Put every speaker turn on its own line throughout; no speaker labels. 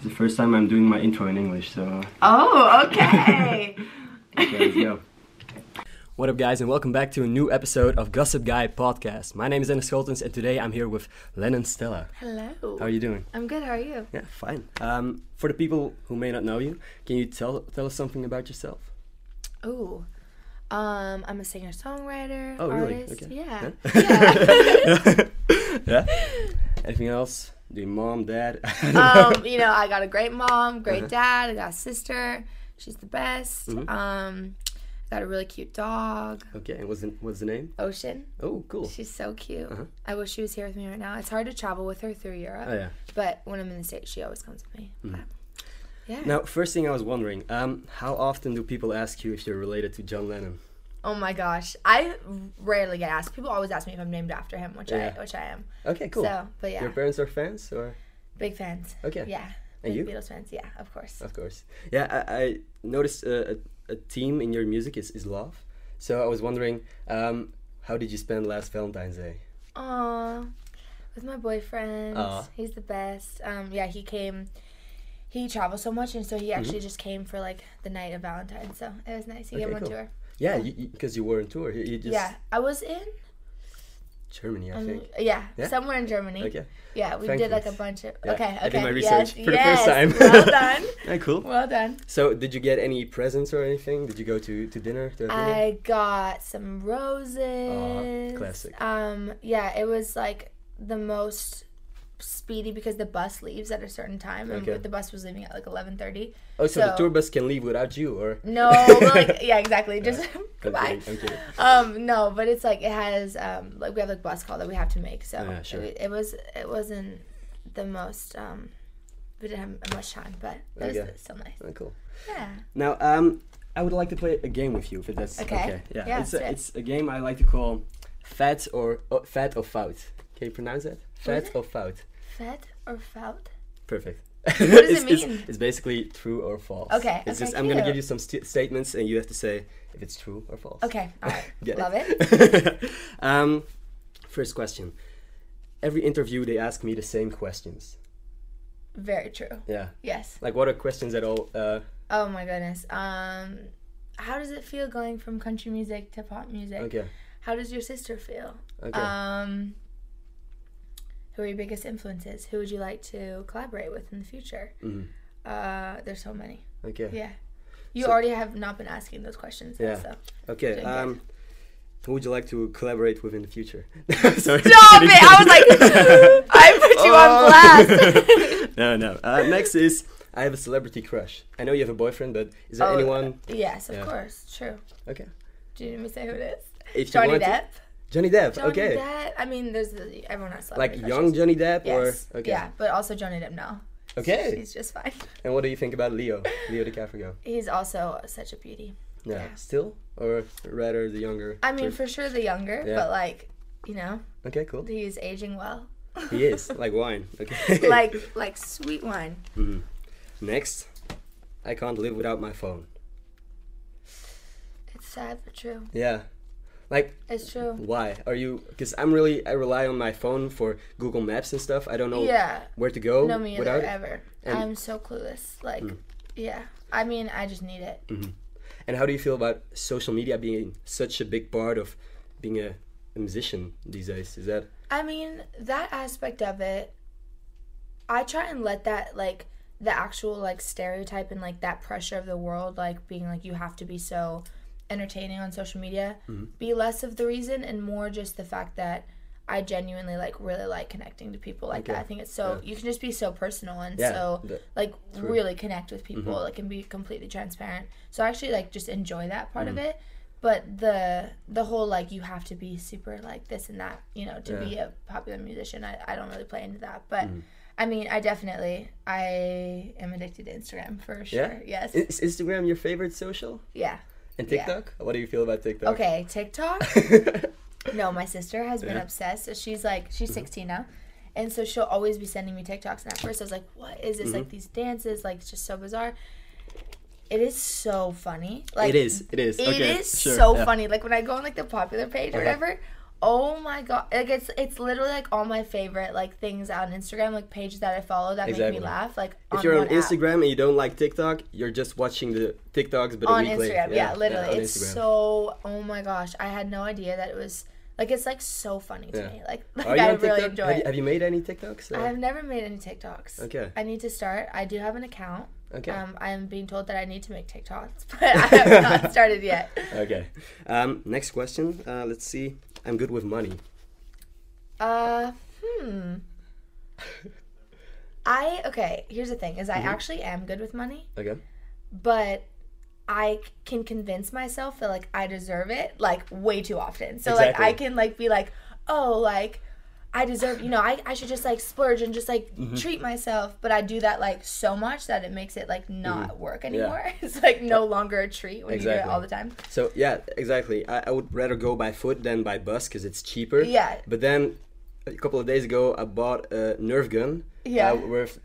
First time I'm doing my intro in English, so
Oh, okay.
guys go. What up, guys, and welcome back to a new episode of Gossip Guy Podcast. My name is Dennis Scholtens, and today I'm here with Lennon Stella.
Hello.
How are you doing?
I'm good. How are you?
Yeah, fine. Um, for the people who may not know you, can you tell tell us something about yourself?
Ooh. Um, I'm a singer-songwriter,
Oh, really?
artist.
Okay.
Yeah.
Yeah. Anything else? Do your mom, dad?
um, you know, I got a great mom, great dad. I got a sister. She's the best. Um, I got a really cute dog,
okay. And what's the, what's the name?
Ocean.
Oh, cool.
She's so cute. I wish she was here with me right now. It's hard to travel with her through Europe,
Oh yeah.
but when I'm in the States, she always comes with me. But, yeah.
Now, first thing I was wondering, um, how often do people ask you if you're related to John Lennon?
Oh my gosh, I rarely get asked. People always ask me if I'm named after him, which
Yeah.
I which I am.
Okay, cool.
So, but yeah,
Your parents are fans, or
big fans.
okay,
Yeah.
And
big
you?
Beatles fans. Yeah, of course.
of course. Yeah, I, I noticed uh, a, a theme in your music is, is love. So I was wondering, um, how did you spend last Valentine's Day?
Aw, with my boyfriend.
Aw.
He's the best. Um, yeah, he came. He travels so much, and so
Mm-hmm.
he actually just came for like the night of Valentine's. So it was nice. He
Okay,
gave one
cool.
tour.
Yeah, because you, were on tour. You, you just
Oh. yeah, I was in.
Germany, I
um,
think.
yeah,
Yeah?
somewhere in Germany.
Okay,
Yeah, we did like a
Frankfurt.
bunch of.
Yeah,
Okay, okay.
I did my
yes,
research for the first
yes,
time.
well done.
yeah, cool.
Well done.
So did you get any presents or anything? Did you go to to dinner? To a dinner?
I got some roses.
classic.
Um, yeah, it was like the most speedy because the bus leaves at a certain time, and
Okay.
the bus was leaving at like eleven thirty.
oh, so, the
so-
tour bus can leave without you, or
No, but like yeah, exactly. Just
I'm
goodbye.
kidding, I'm kidding.
Um, no, but it's like it has um, like we have like bus call that we have to make, so
Yeah, sure.
it, it was it wasn't the most um, we didn't have much time, but it was
Okay.
still nice.
Oh, cool.
Yeah.
Now, um, I would like to play a game with you, if that's okay.
Okay.
Yeah,
Yeah,
it's,
let's
a,
do it.
it's a game I like to call Fat or uh, Fat or Fout. Can you pronounce that? Fat or Fout.
Fed or felt?
Perfect. What does it's,
it mean?
It's, it's basically true or false.
Okay,
It's
okay,
just I'm gonna give
cute.
you some st- statements, and you have to say if it's true or false.
Okay. All right.
Get
Love it.
it. um, first question. Every interview, they ask me the same questions.
Very true.
Yeah.
Yes.
Like, what are questions at all? Uh,
Oh my goodness. Um, how does it feel going from country music to pop music?
okay.
How does your sister feel?
Okay.
Um, who are your biggest influences? Who would you like to collaborate with in the future?
Mhm.
Uh, there's so many.
okay.
Yeah. You
So-
already have not been asking those questions.
Yeah.
So.
Okay.
Doing good.
Um, who would you like to collaborate with in the future? Sorry.
Stop it! I was like, I put you on
Oh.
blast.
no, no. Uh, next is I have a celebrity crush. I know you have a boyfriend, but is there
Oh,
anyone?
yes, of
Yeah.
course. True.
Okay.
Do you need me to say who it is?
If you
Johnny
want to-
Depp.
Johnny Depp.
Johnny
okay.
Depp. I mean, there's the, everyone has
Like
celebrity crushes.
young Johnny Depp,
Yes.
or okay.
Yeah, but also Johnny Depp now.
Okay.
He's just fine.
And what do you think about Leo? Leo DiCaprio.
He's also such a beauty.
Yeah.
Yeah.
Still, or rather the younger.
I mean,
version?
for sure the younger,
Yeah.
but like, you know,
okay, cool.
he's aging well.
He is like wine. Okay.
like like sweet wine.
next, I can't live without my phone.
It's sad but true.
Yeah. Like
It's true.
Why are you? Because I'm really I rely on my phone for Google Maps and stuff. I don't know
Yeah.
where to go
No me either
Oh. without. it.
ever.
and- Hmm.
I'm so clueless. Like, yeah. I mean, I just need it.
And how do you feel about social media being such a big part of being a, a musician these days? Is that
I mean, that aspect of it, I try and let that, like, the actual, like, stereotype and, like, that pressure of the world, like, being like, you have to be so entertaining on social media, be less of the reason and more just the fact that I genuinely, like, really like connecting to people like that. I think it's so, you can just be so personal and
Yeah,
so,
that-
like, really connect with people, like, and be completely transparent. So I actually, like, just enjoy that part of it but the the whole like you have to be super like this and that you know to be a popular musician I, I don't really play into that but i mean i definitely i am addicted to instagram for
yeah?
sure yes
Is Instagram your favorite social?
yeah
And
Yeah.
TikTok? What do you feel about TikTok?
okay tiktok no my sister has been
Yeah. Mm-hmm.
obsessed so she's like she's 16 now and so she'll always be sending me tiktoks and at first i was like what is this
Mm-hmm.
like these dances like it's just so bizarre it is so funny like
it is. It is.
It is
okay, sure,
so
yeah.
funny. Like when I go on like the popular page or whatever, oh my god, like it's it's literally like all my favorite like things on Instagram, like pages that I follow that
Exactly.
make me laugh. Like
If you're on
one app.
Instagram and you don't like TikTok, you're just watching the TikToks, but
on
a week later.
Instagram. Yeah, literally.
on
it's
Instagram.
so oh my gosh. I had no idea that it was like it's like so funny to
Yeah.
me. Like, like
Are you
I
on
really
TikTok?
enjoy
have,
it.
you, have you made any TikToks?
I have never made any TikToks.
Okay.
I need to start. I do have an account.
Okay.
Um, I am being told that I need to make TikToks, but I have not started yet.
okay. Um, next question. Uh, let's see. I'm good with money.
Uh, hmm. I okay. Here's the thing: is I actually am good with money,
Okay.
but I c- can convince myself that like I deserve it like way too often. So
Exactly.
like I can like be like, oh, like I deserve, you know, I, I should just like splurge and just like
Mm-hmm.
treat myself. But I do that like so much that it makes it like not
Mm-hmm.
work anymore. it's like no longer a treat when you do
Exactly.
it all the time.
So yeah, exactly. I, I would rather go by foot than by bus because it's cheaper.
Yeah.
But then a couple of days ago, I bought a Nerf gun.
Yeah.
Uh, worth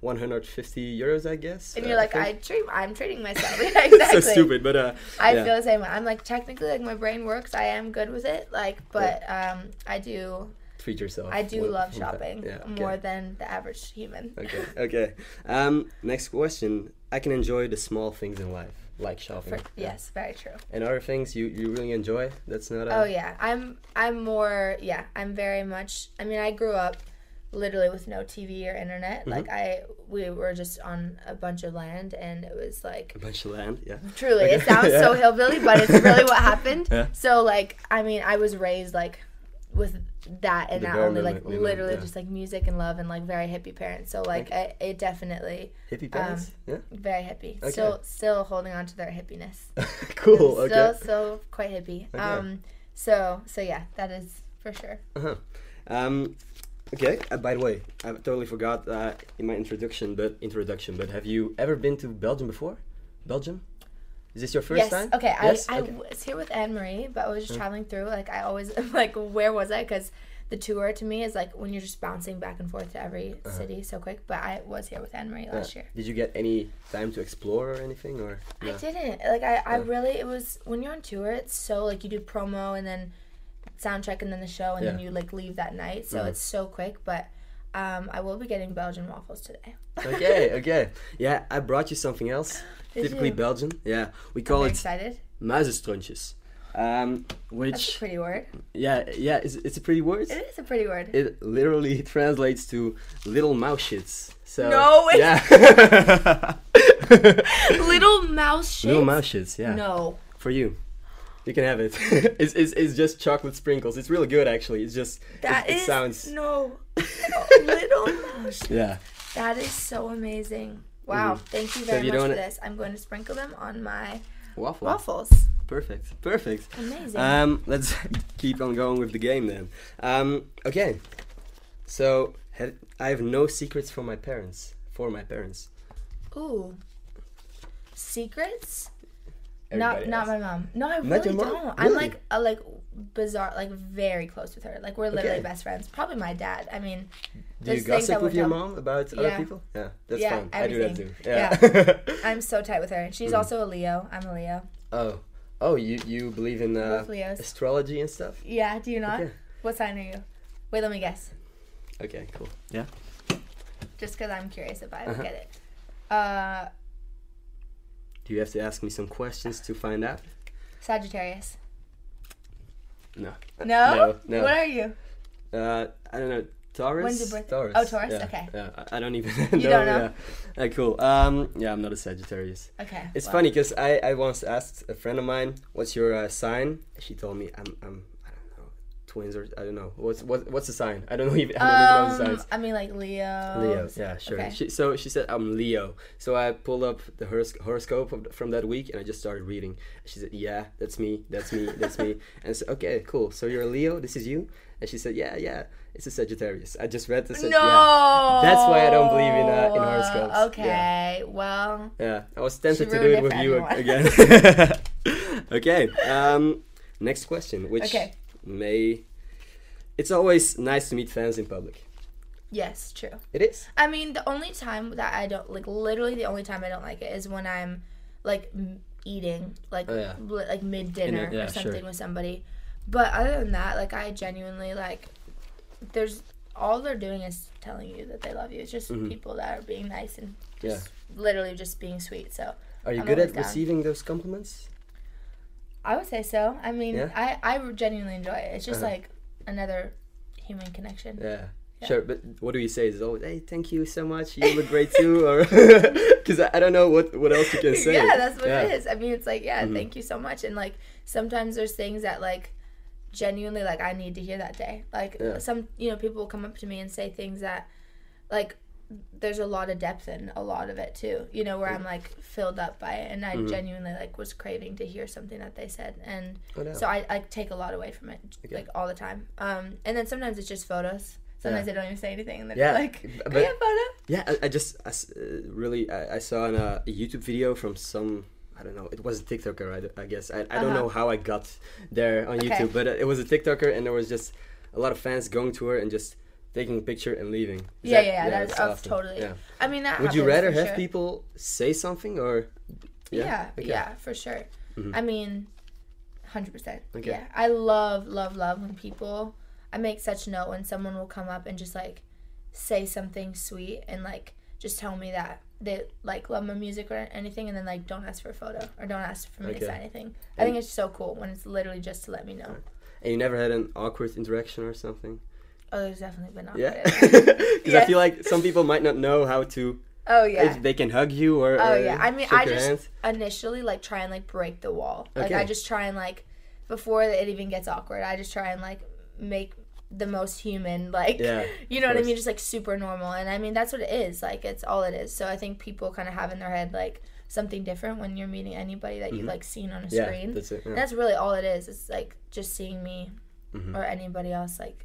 150 euros, I guess.
And
uh,
you're like, I
think.
treat, I'm treating myself. Yeah, exactly.
so stupid, but uh.
I
yeah.
feel the same way. I'm like technically like my brain works. I am good with it. Like, but um, I do
treat yourself.
I do
One-
love
one time.
shopping
Yeah, okay.
more than the average human.
Okay. Okay. Um, next question. I can enjoy the small things in life, like shopping.
Yes, very true.
And other things you, you really enjoy. That's not. uh, A,
Oh yeah, I'm I'm more yeah, I'm very much I mean, I grew up literally with no TV or internet.
Mm-hmm.
Like I we were just on a bunch of land and it was like
A bunch of land. Yeah.
truly it sounds so
Yeah.
hillbilly, but it's really what happened.
Yeah.
So like I mean, I was raised like with that and
The
that
bare
only like
minimum, minimum,
literally
yeah.
just like music and love and like very hippie parents. So like it, it definitely
Hippie pants.
very hippie. Still still holding on to their hippiness.
yeah. cool.
still
Okay.
so quite hippie. Um, so so yeah, that is for sure.
Uh-huh. Um, okay. Uh, by the way, I totally forgot uh, in my introduction, but introduction. But have you ever been to Belgium before? Belgium. Is this your first
yes.
time?
Okay. I,
Yes?
I
Okay. Mm.
was here with Anne Marie, but I was just traveling through. Like I always I'm like, where was I? Because the tour to me is like when you're just bouncing back and forth to every city so quick. But I was here with Anne Marie
Uh-huh. Yeah.
last year.
Uh, Did you get any time to explore or anything, or
I didn't like I, I really it was when you're on tour it's so like you do promo and then sound check and then the show and then
Yeah. Mm-hmm.
you like leave that night so it's so quick but um, I will be getting Belgian waffles today.
okay, okay. Yeah, I brought you something else. Typically
you?
Belgian. Yeah, we call
Very
it
excited.
muizenstrontjes. Um,
That's a
which
pretty word.
yeah, yeah, it's, it's a pretty word.
It is a pretty word.
It literally translates to little mouse shits. So
No, it's-
yeah.
Little mouse shit.
little mouse shits. Yeah,
No.
for you. You can have it. it's, it's, it's just chocolate sprinkles. It's really good, actually. It's just
that
it,
is
it sounds
no. Little mouse. shit.
yeah.
That is so amazing. Wow. Thank
Mm-hmm.
you
if
very
you
much
don't-
for this. I'm going to sprinkle them on my
Waffle.
waffles.
Perfect. Perfect.
Amazing.
Um, let's keep on going with the game then. Um, okay. So have, I have no secrets from my parents. For my parents.
Ooh. Secrets?
Everybody
not
else.
not my mom. No, I
Not
really
your mom?
don't. I'm
Really?
like a, like bizarre, like very close with her. Like we're literally
Okay.
best friends. Probably my dad. I mean,
Do you
there's things I
gossip with
would
your
tell-
mom about other
Yeah.
people? Yeah, that's
Yeah,
fun. I do that too.
everything.
Yeah.
I'm so tight with her. And
Mm-hmm.
She's also a Leo. I'm a Leo.
oh, oh, you you believe in uh,
Both Leos.
astrology and stuff?
Yeah, do you not?
Okay.
What sign are you? Wait, let me guess.
Okay, cool. Yeah.
Just because I'm curious if I
Uh-huh.
would get it. Uh,
Do you have to ask me some questions to find out?
Sagittarius.
No.
No?
Uh, No, no.
What are you?
Uh, I don't know. Taurus.
When's your birthday?
Taurus.
Oh, Taurus?
Yeah,
Okay.
Yeah, I- I don't even know.
You don't know?
Yeah. Uh, cool. Um, yeah, I'm not a Sagittarius.
Okay.
It's
well,
funny 'cause funny because I, I once asked a friend of mine, "What's your uh, sign?" She told me, "I'm I'm I don't know, twins or I don't know what's what, what's the sign? I don't know even I don't even know the
Um,
signs."
I mean, like Leo.
Leo, yeah, sure.
Oh, okay.
She, so she said, "I'm Leo." So I pulled up the horos- horoscope of, from that week and I just started reading. She said, "Yeah, that's me. That's me. That's me." And I said, "Okay, cool. So you're a Leo. This is you." And she said, "Yeah, yeah. It's a Sagittarius. I just read this.
No.
Yeah. That's why I don't believe in, uh, in horoscopes. Yeah.
Okay. Well,
Yeah, I was tempted to do
ruined
it
it
with
for
you
everyone.
again. okay, um, next question, which
Okay.
may. It's always nice to meet fans in public.
yes, true.
It is.
I mean, the only time that I don't like, literally, the only time I don't like it is when I'm like m- eating, like
Oh, yeah.
li- like mid dinner
yeah,
or
sure.
something with somebody. But other than that, like I genuinely like there's all they're doing is telling you that they love you. It's just
Mm-hmm.
people that are being nice and just literally just being sweet. So
Are you
I'm
good
always
at
down.
receiving those compliments?
I would say so. I mean,
Yeah?
I I genuinely enjoy it. It's just
Uh-huh.
like another human connection.
Yeah.
Yeah.
Sure, but what do you say? Is it always, hey, thank you so much. You look great too, or because I, I don't know what what else you can say.
Yeah, that's what
Yeah. Mm-hmm.
it is. I mean, it's like, yeah, thank you so much. And like sometimes there's things that like genuinely like I need to hear that day. Like
Yeah.
some you know people will come up to me and say things that like there's a lot of depth in a lot of it too. You know where I'm like filled up by it, and I
Mm-hmm.
genuinely like was craving to hear something that they said, and
Oh, no.
so I like take a lot away from it
Okay.
like all the time. Um, and then sometimes it's just photos. Sometimes they don't even say anything, and they're
Yeah,
like,
b-
"Can
but-
we have a photo?"
Yeah, I, I just I s- uh, really I, I saw in a, a YouTube video from some I don't know it was a TikToker I d- I, guess I, I don't know how I got there on
Uh-huh. Okay.
YouTube but uh, it was a TikToker and there was just a lot of fans going to her and just taking a picture and leaving. Is
Yeah, yeah, yeah,
it's
that's, that's
awesome.
totally.
Yeah.
I mean, that
Would you
happens
rather
for
have
sure.
people say something or?
Yeah, yeah,
okay. Mm-hmm.
for sure. I mean, hundred percent.
Okay.
Yeah, I love, love, love when people. I make such note when someone will come up and just like say something sweet and like just tell me that they like love my music or anything, and then like don't ask for a photo or don't ask for me
Okay.
to sign anything. I think it's so cool when it's literally just to let me know.
And you never had an awkward interaction or something?
Oh, there's definitely been awkward.
Yeah.
Yeah.
Because I
Yes.
feel like some people might not know how to.
oh yeah.
If they can hug you or.
Oh
or
yeah. I mean,
shake
I
your
just
hands.
initially like try and like break the wall. Like
Okay.
I just try and like before it even gets awkward, I just try and like make the most human like
Yeah,
you know what I
course.
mean, just like super normal. And I mean that's what it is. Like it's all it is. So I think people kind of have in their head like something different when you're meeting anybody that you've like seen on a
Mm-hmm. Yeah,
screen.
that's it. yeah.
And that's really all it is. It's like just seeing me
Mm-hmm.
or anybody else like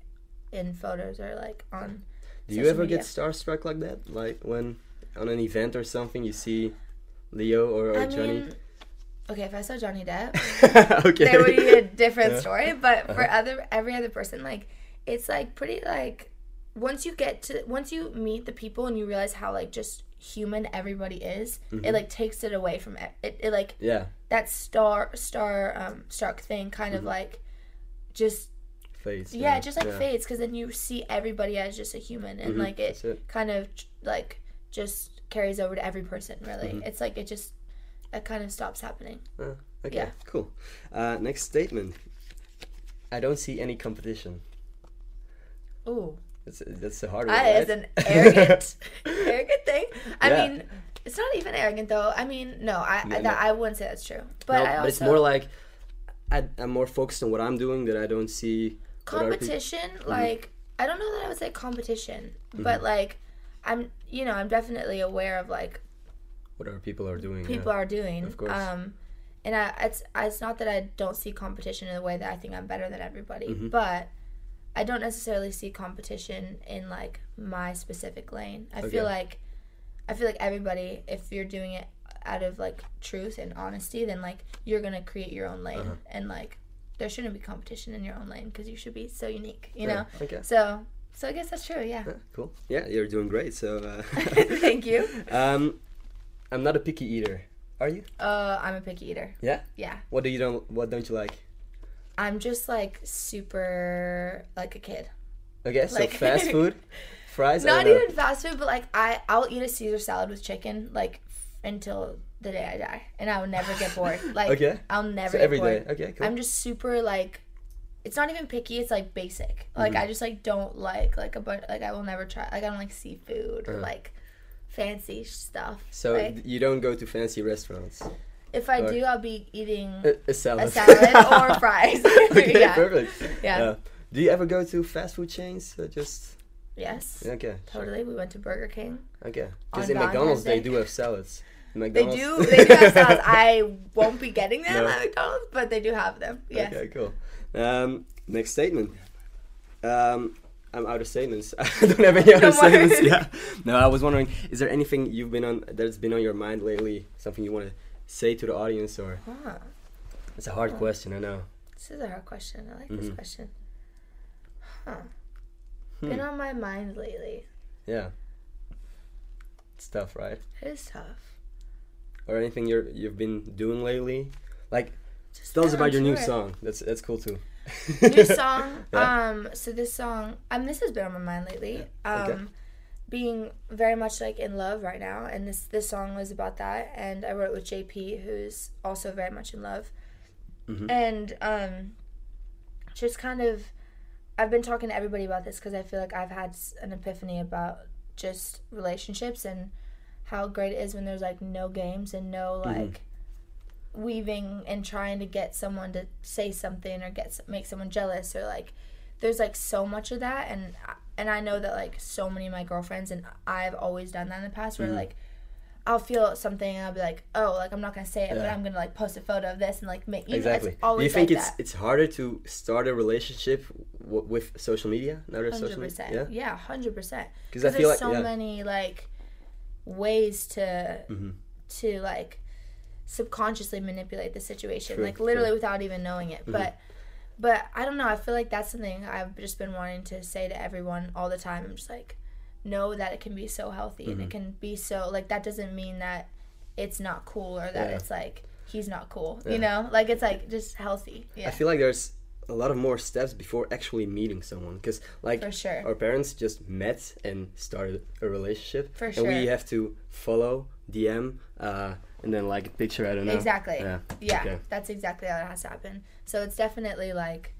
in photos or like on
Do you
social
ever get
media.
starstruck like that? Like when on an event or something you see Leo or, or
I
Johnny?
mean okay, if I saw Johnny Depp
okay.
there would be a different story. But for
Uh-huh.
other every other person, like it's like pretty like once you get to once you meet the people and you realize how like just human everybody is,
Mm-hmm.
it like takes it away from e, it. It, it like
yeah,
that star star um Stark thing kind of like just
face.
yeah, it just like
Mm-hmm. yeah. Mm-hmm.
fades because then you see everybody as just a human and like it,
that's it.
kind of like just carries over to every person really.
Mm-hmm.
It's like it just it kind of stops happening.
Uh, okay,
yeah.
cool. Uh, next statement. I don't see any competition.
Ooh.
That's that's the hard one.
That
right?
is an arrogant, arrogant thing. I
Yeah.
mean, it's not even arrogant though. I mean, no, I I, that, I wouldn't say that's true. But
No,
I also
but it's more like I, I'm more focused on what I'm doing that I don't see what other Mm-hmm. peop-
competition. Like I don't know that I would say competition,
Mm-hmm.
but like I'm, you know, I'm definitely aware of like
what other people are doing. yeah.
people are doing. Of
course.
Um, and I, it's it's not that I don't see competition in the way that I think I'm better than everybody,
Mm-hmm.
but I don't necessarily see competition in like my specific lane. I
Okay.
feel like I feel like everybody, if you're doing it out of like truth and honesty, then like you're gonna create your own lane,
Uh-huh.
and like there shouldn't be competition in your own lane because you should be so unique, you know.
Okay.
So so I guess that's true. Yeah.
Cool. Yeah, you're doing great. So, uh,
Thank you.
um, I'm not a picky eater. Are you?
Uh, I'm a picky eater.
Yeah.
Yeah.
What do you don't? What don't you like?
I'm just like super like a kid.
Okay, so
Like-
fast food, fries. I
Not
don't know.
even fast food, but like I I'll eat a Caesar salad with chicken like f- until the day I die, and I will never get bored. Like
Okay.
I'll never
So
get
every day.
bored.
Okay, cool.
I'm just super like. It's not even picky. It's like basic. Like
Mm-hmm.
I just like don't like like a bunch. Like I will never try. Like I don't like seafood or like fancy stuff.
Uh. so
like,
you don't go to fancy restaurants.
if I do, I'll be eating
A, a salad.
a salad or fries.
Uh, okay,
yeah.
perfect.
Yeah.
Uh, do you ever go to fast food chains? Or just
Yes.
okay. sure.
Totally. We went to Burger King.
Okay. Because
On
in McDonald's they
Valentine's Day.
do have salads.
They
McDonald's.
do. They do have salads. I won't be getting them
No.
at McDonald's, but they do have them. Yes.
Okay, cool. Um, next statement. Um, I'm out of statements. I don't have any other
Don't worry.
statements. Yeah. No, I was wondering, is there anything you've been on that's been on your mind lately? Something you want to say to the audience, or
Huh.
it's a
Oh.
hard question. I know.
This is a hard question. I like
Mm-hmm.
this question. Huh.
Hmm.
Been on my mind lately.
Yeah. It's tough, right?
It is tough.
Or anything you're you've been doing lately? Like,
Just
tell us
been
about your new
unsure.
song. That's that's cool too.
New song.
Yeah.
Um, so this song, um, this has been on my mind lately. Um,
Okay.
being very much like in love right now, and this this song was about that. And I wrote with JP, who's also very much in love,
Mhm.
and um, just kind of, I've been talking to everybody about this because I feel like I've had s- an epiphany about just relationships and how great it is when there's like no games and no
Mm-hmm.
like weaving and trying to get someone to say something or get s- make someone jealous or like there's like so much of that and I- and I know that like so many of my girlfriends and I've always done that in the past
Mm-hmm.
where like I'll feel something and I'll be like oh like I'm not gonna say it but
Yeah.
I'm gonna like post a photo of this and like make you know, it's
Exactly. Do you
always
think
like
it's
that.
it's harder to start a relationship w- with social media now there's
hundred
social media?
percent
Yeah.
yeah hundred percent
Because I
because
feel
there's
like
so
yeah.
many like ways to
Mhm.
to like subconsciously manipulate the situation
True, Mm-hmm.
like literally without even knowing it but but i don't know i feel like that's something i've just been wanting to say to everyone all the time i'm just like know that it can be so healthy
Mm-hmm.
and it can be so like that doesn't mean that it's not cool or that
Yeah.
it's like he's not cool you know like it's like just healthy
I
yeah
feel like there's a lot of more steps before actually meeting someone because like
For sure.
our parents just met and started a relationship
For
and
sure.
we have to follow dm uh, and then like picture i don't know
Exactly.
yeah
Yeah.
okay.
That's exactly how it has to happen. So it's definitely like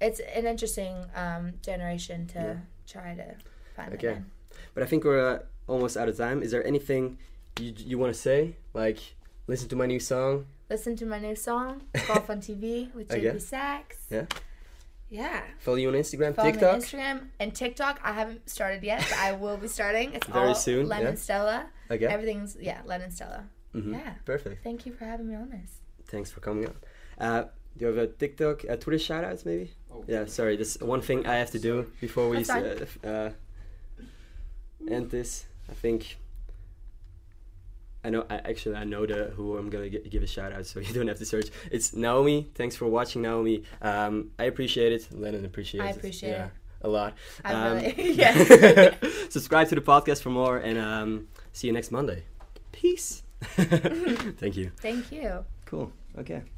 it's an interesting um, generation to try to find. that
Okay.
in.
but i think we're uh, almost out of time is there anything you, you want to say like listen to my new song
Listen to my new song, Golf on TV with JP
Okay.
Sachs.
Yeah.
Yeah.
follow you on instagram
Follow me on
tiktok
Instagram and TikTok. I haven't started yet, but I will be starting. It's
Very
all
soon,
Len
yeah.
and Stella.
okay
Everything's yeah, Len and Stella.
Mhm.
Yeah.
perfect
Thank you for having me on this.
thanks for coming on uh, do you have a tiktok a twitter shout outs maybe yeah sorry this is one thing i have to do before we
That's fine.
uh, f- uh, end this i think i know i actually i know the who i'm gonna gi- give a shout out so you don't have to search it's naomi thanks for watching naomi um, i appreciate it lennon appreciates
I
it.
appreciate
yeah,
it.
a lot
I
Um,
really yeah.
subscribe to the podcast for more and um, see you next monday peace thank you
Thank you.
cool okay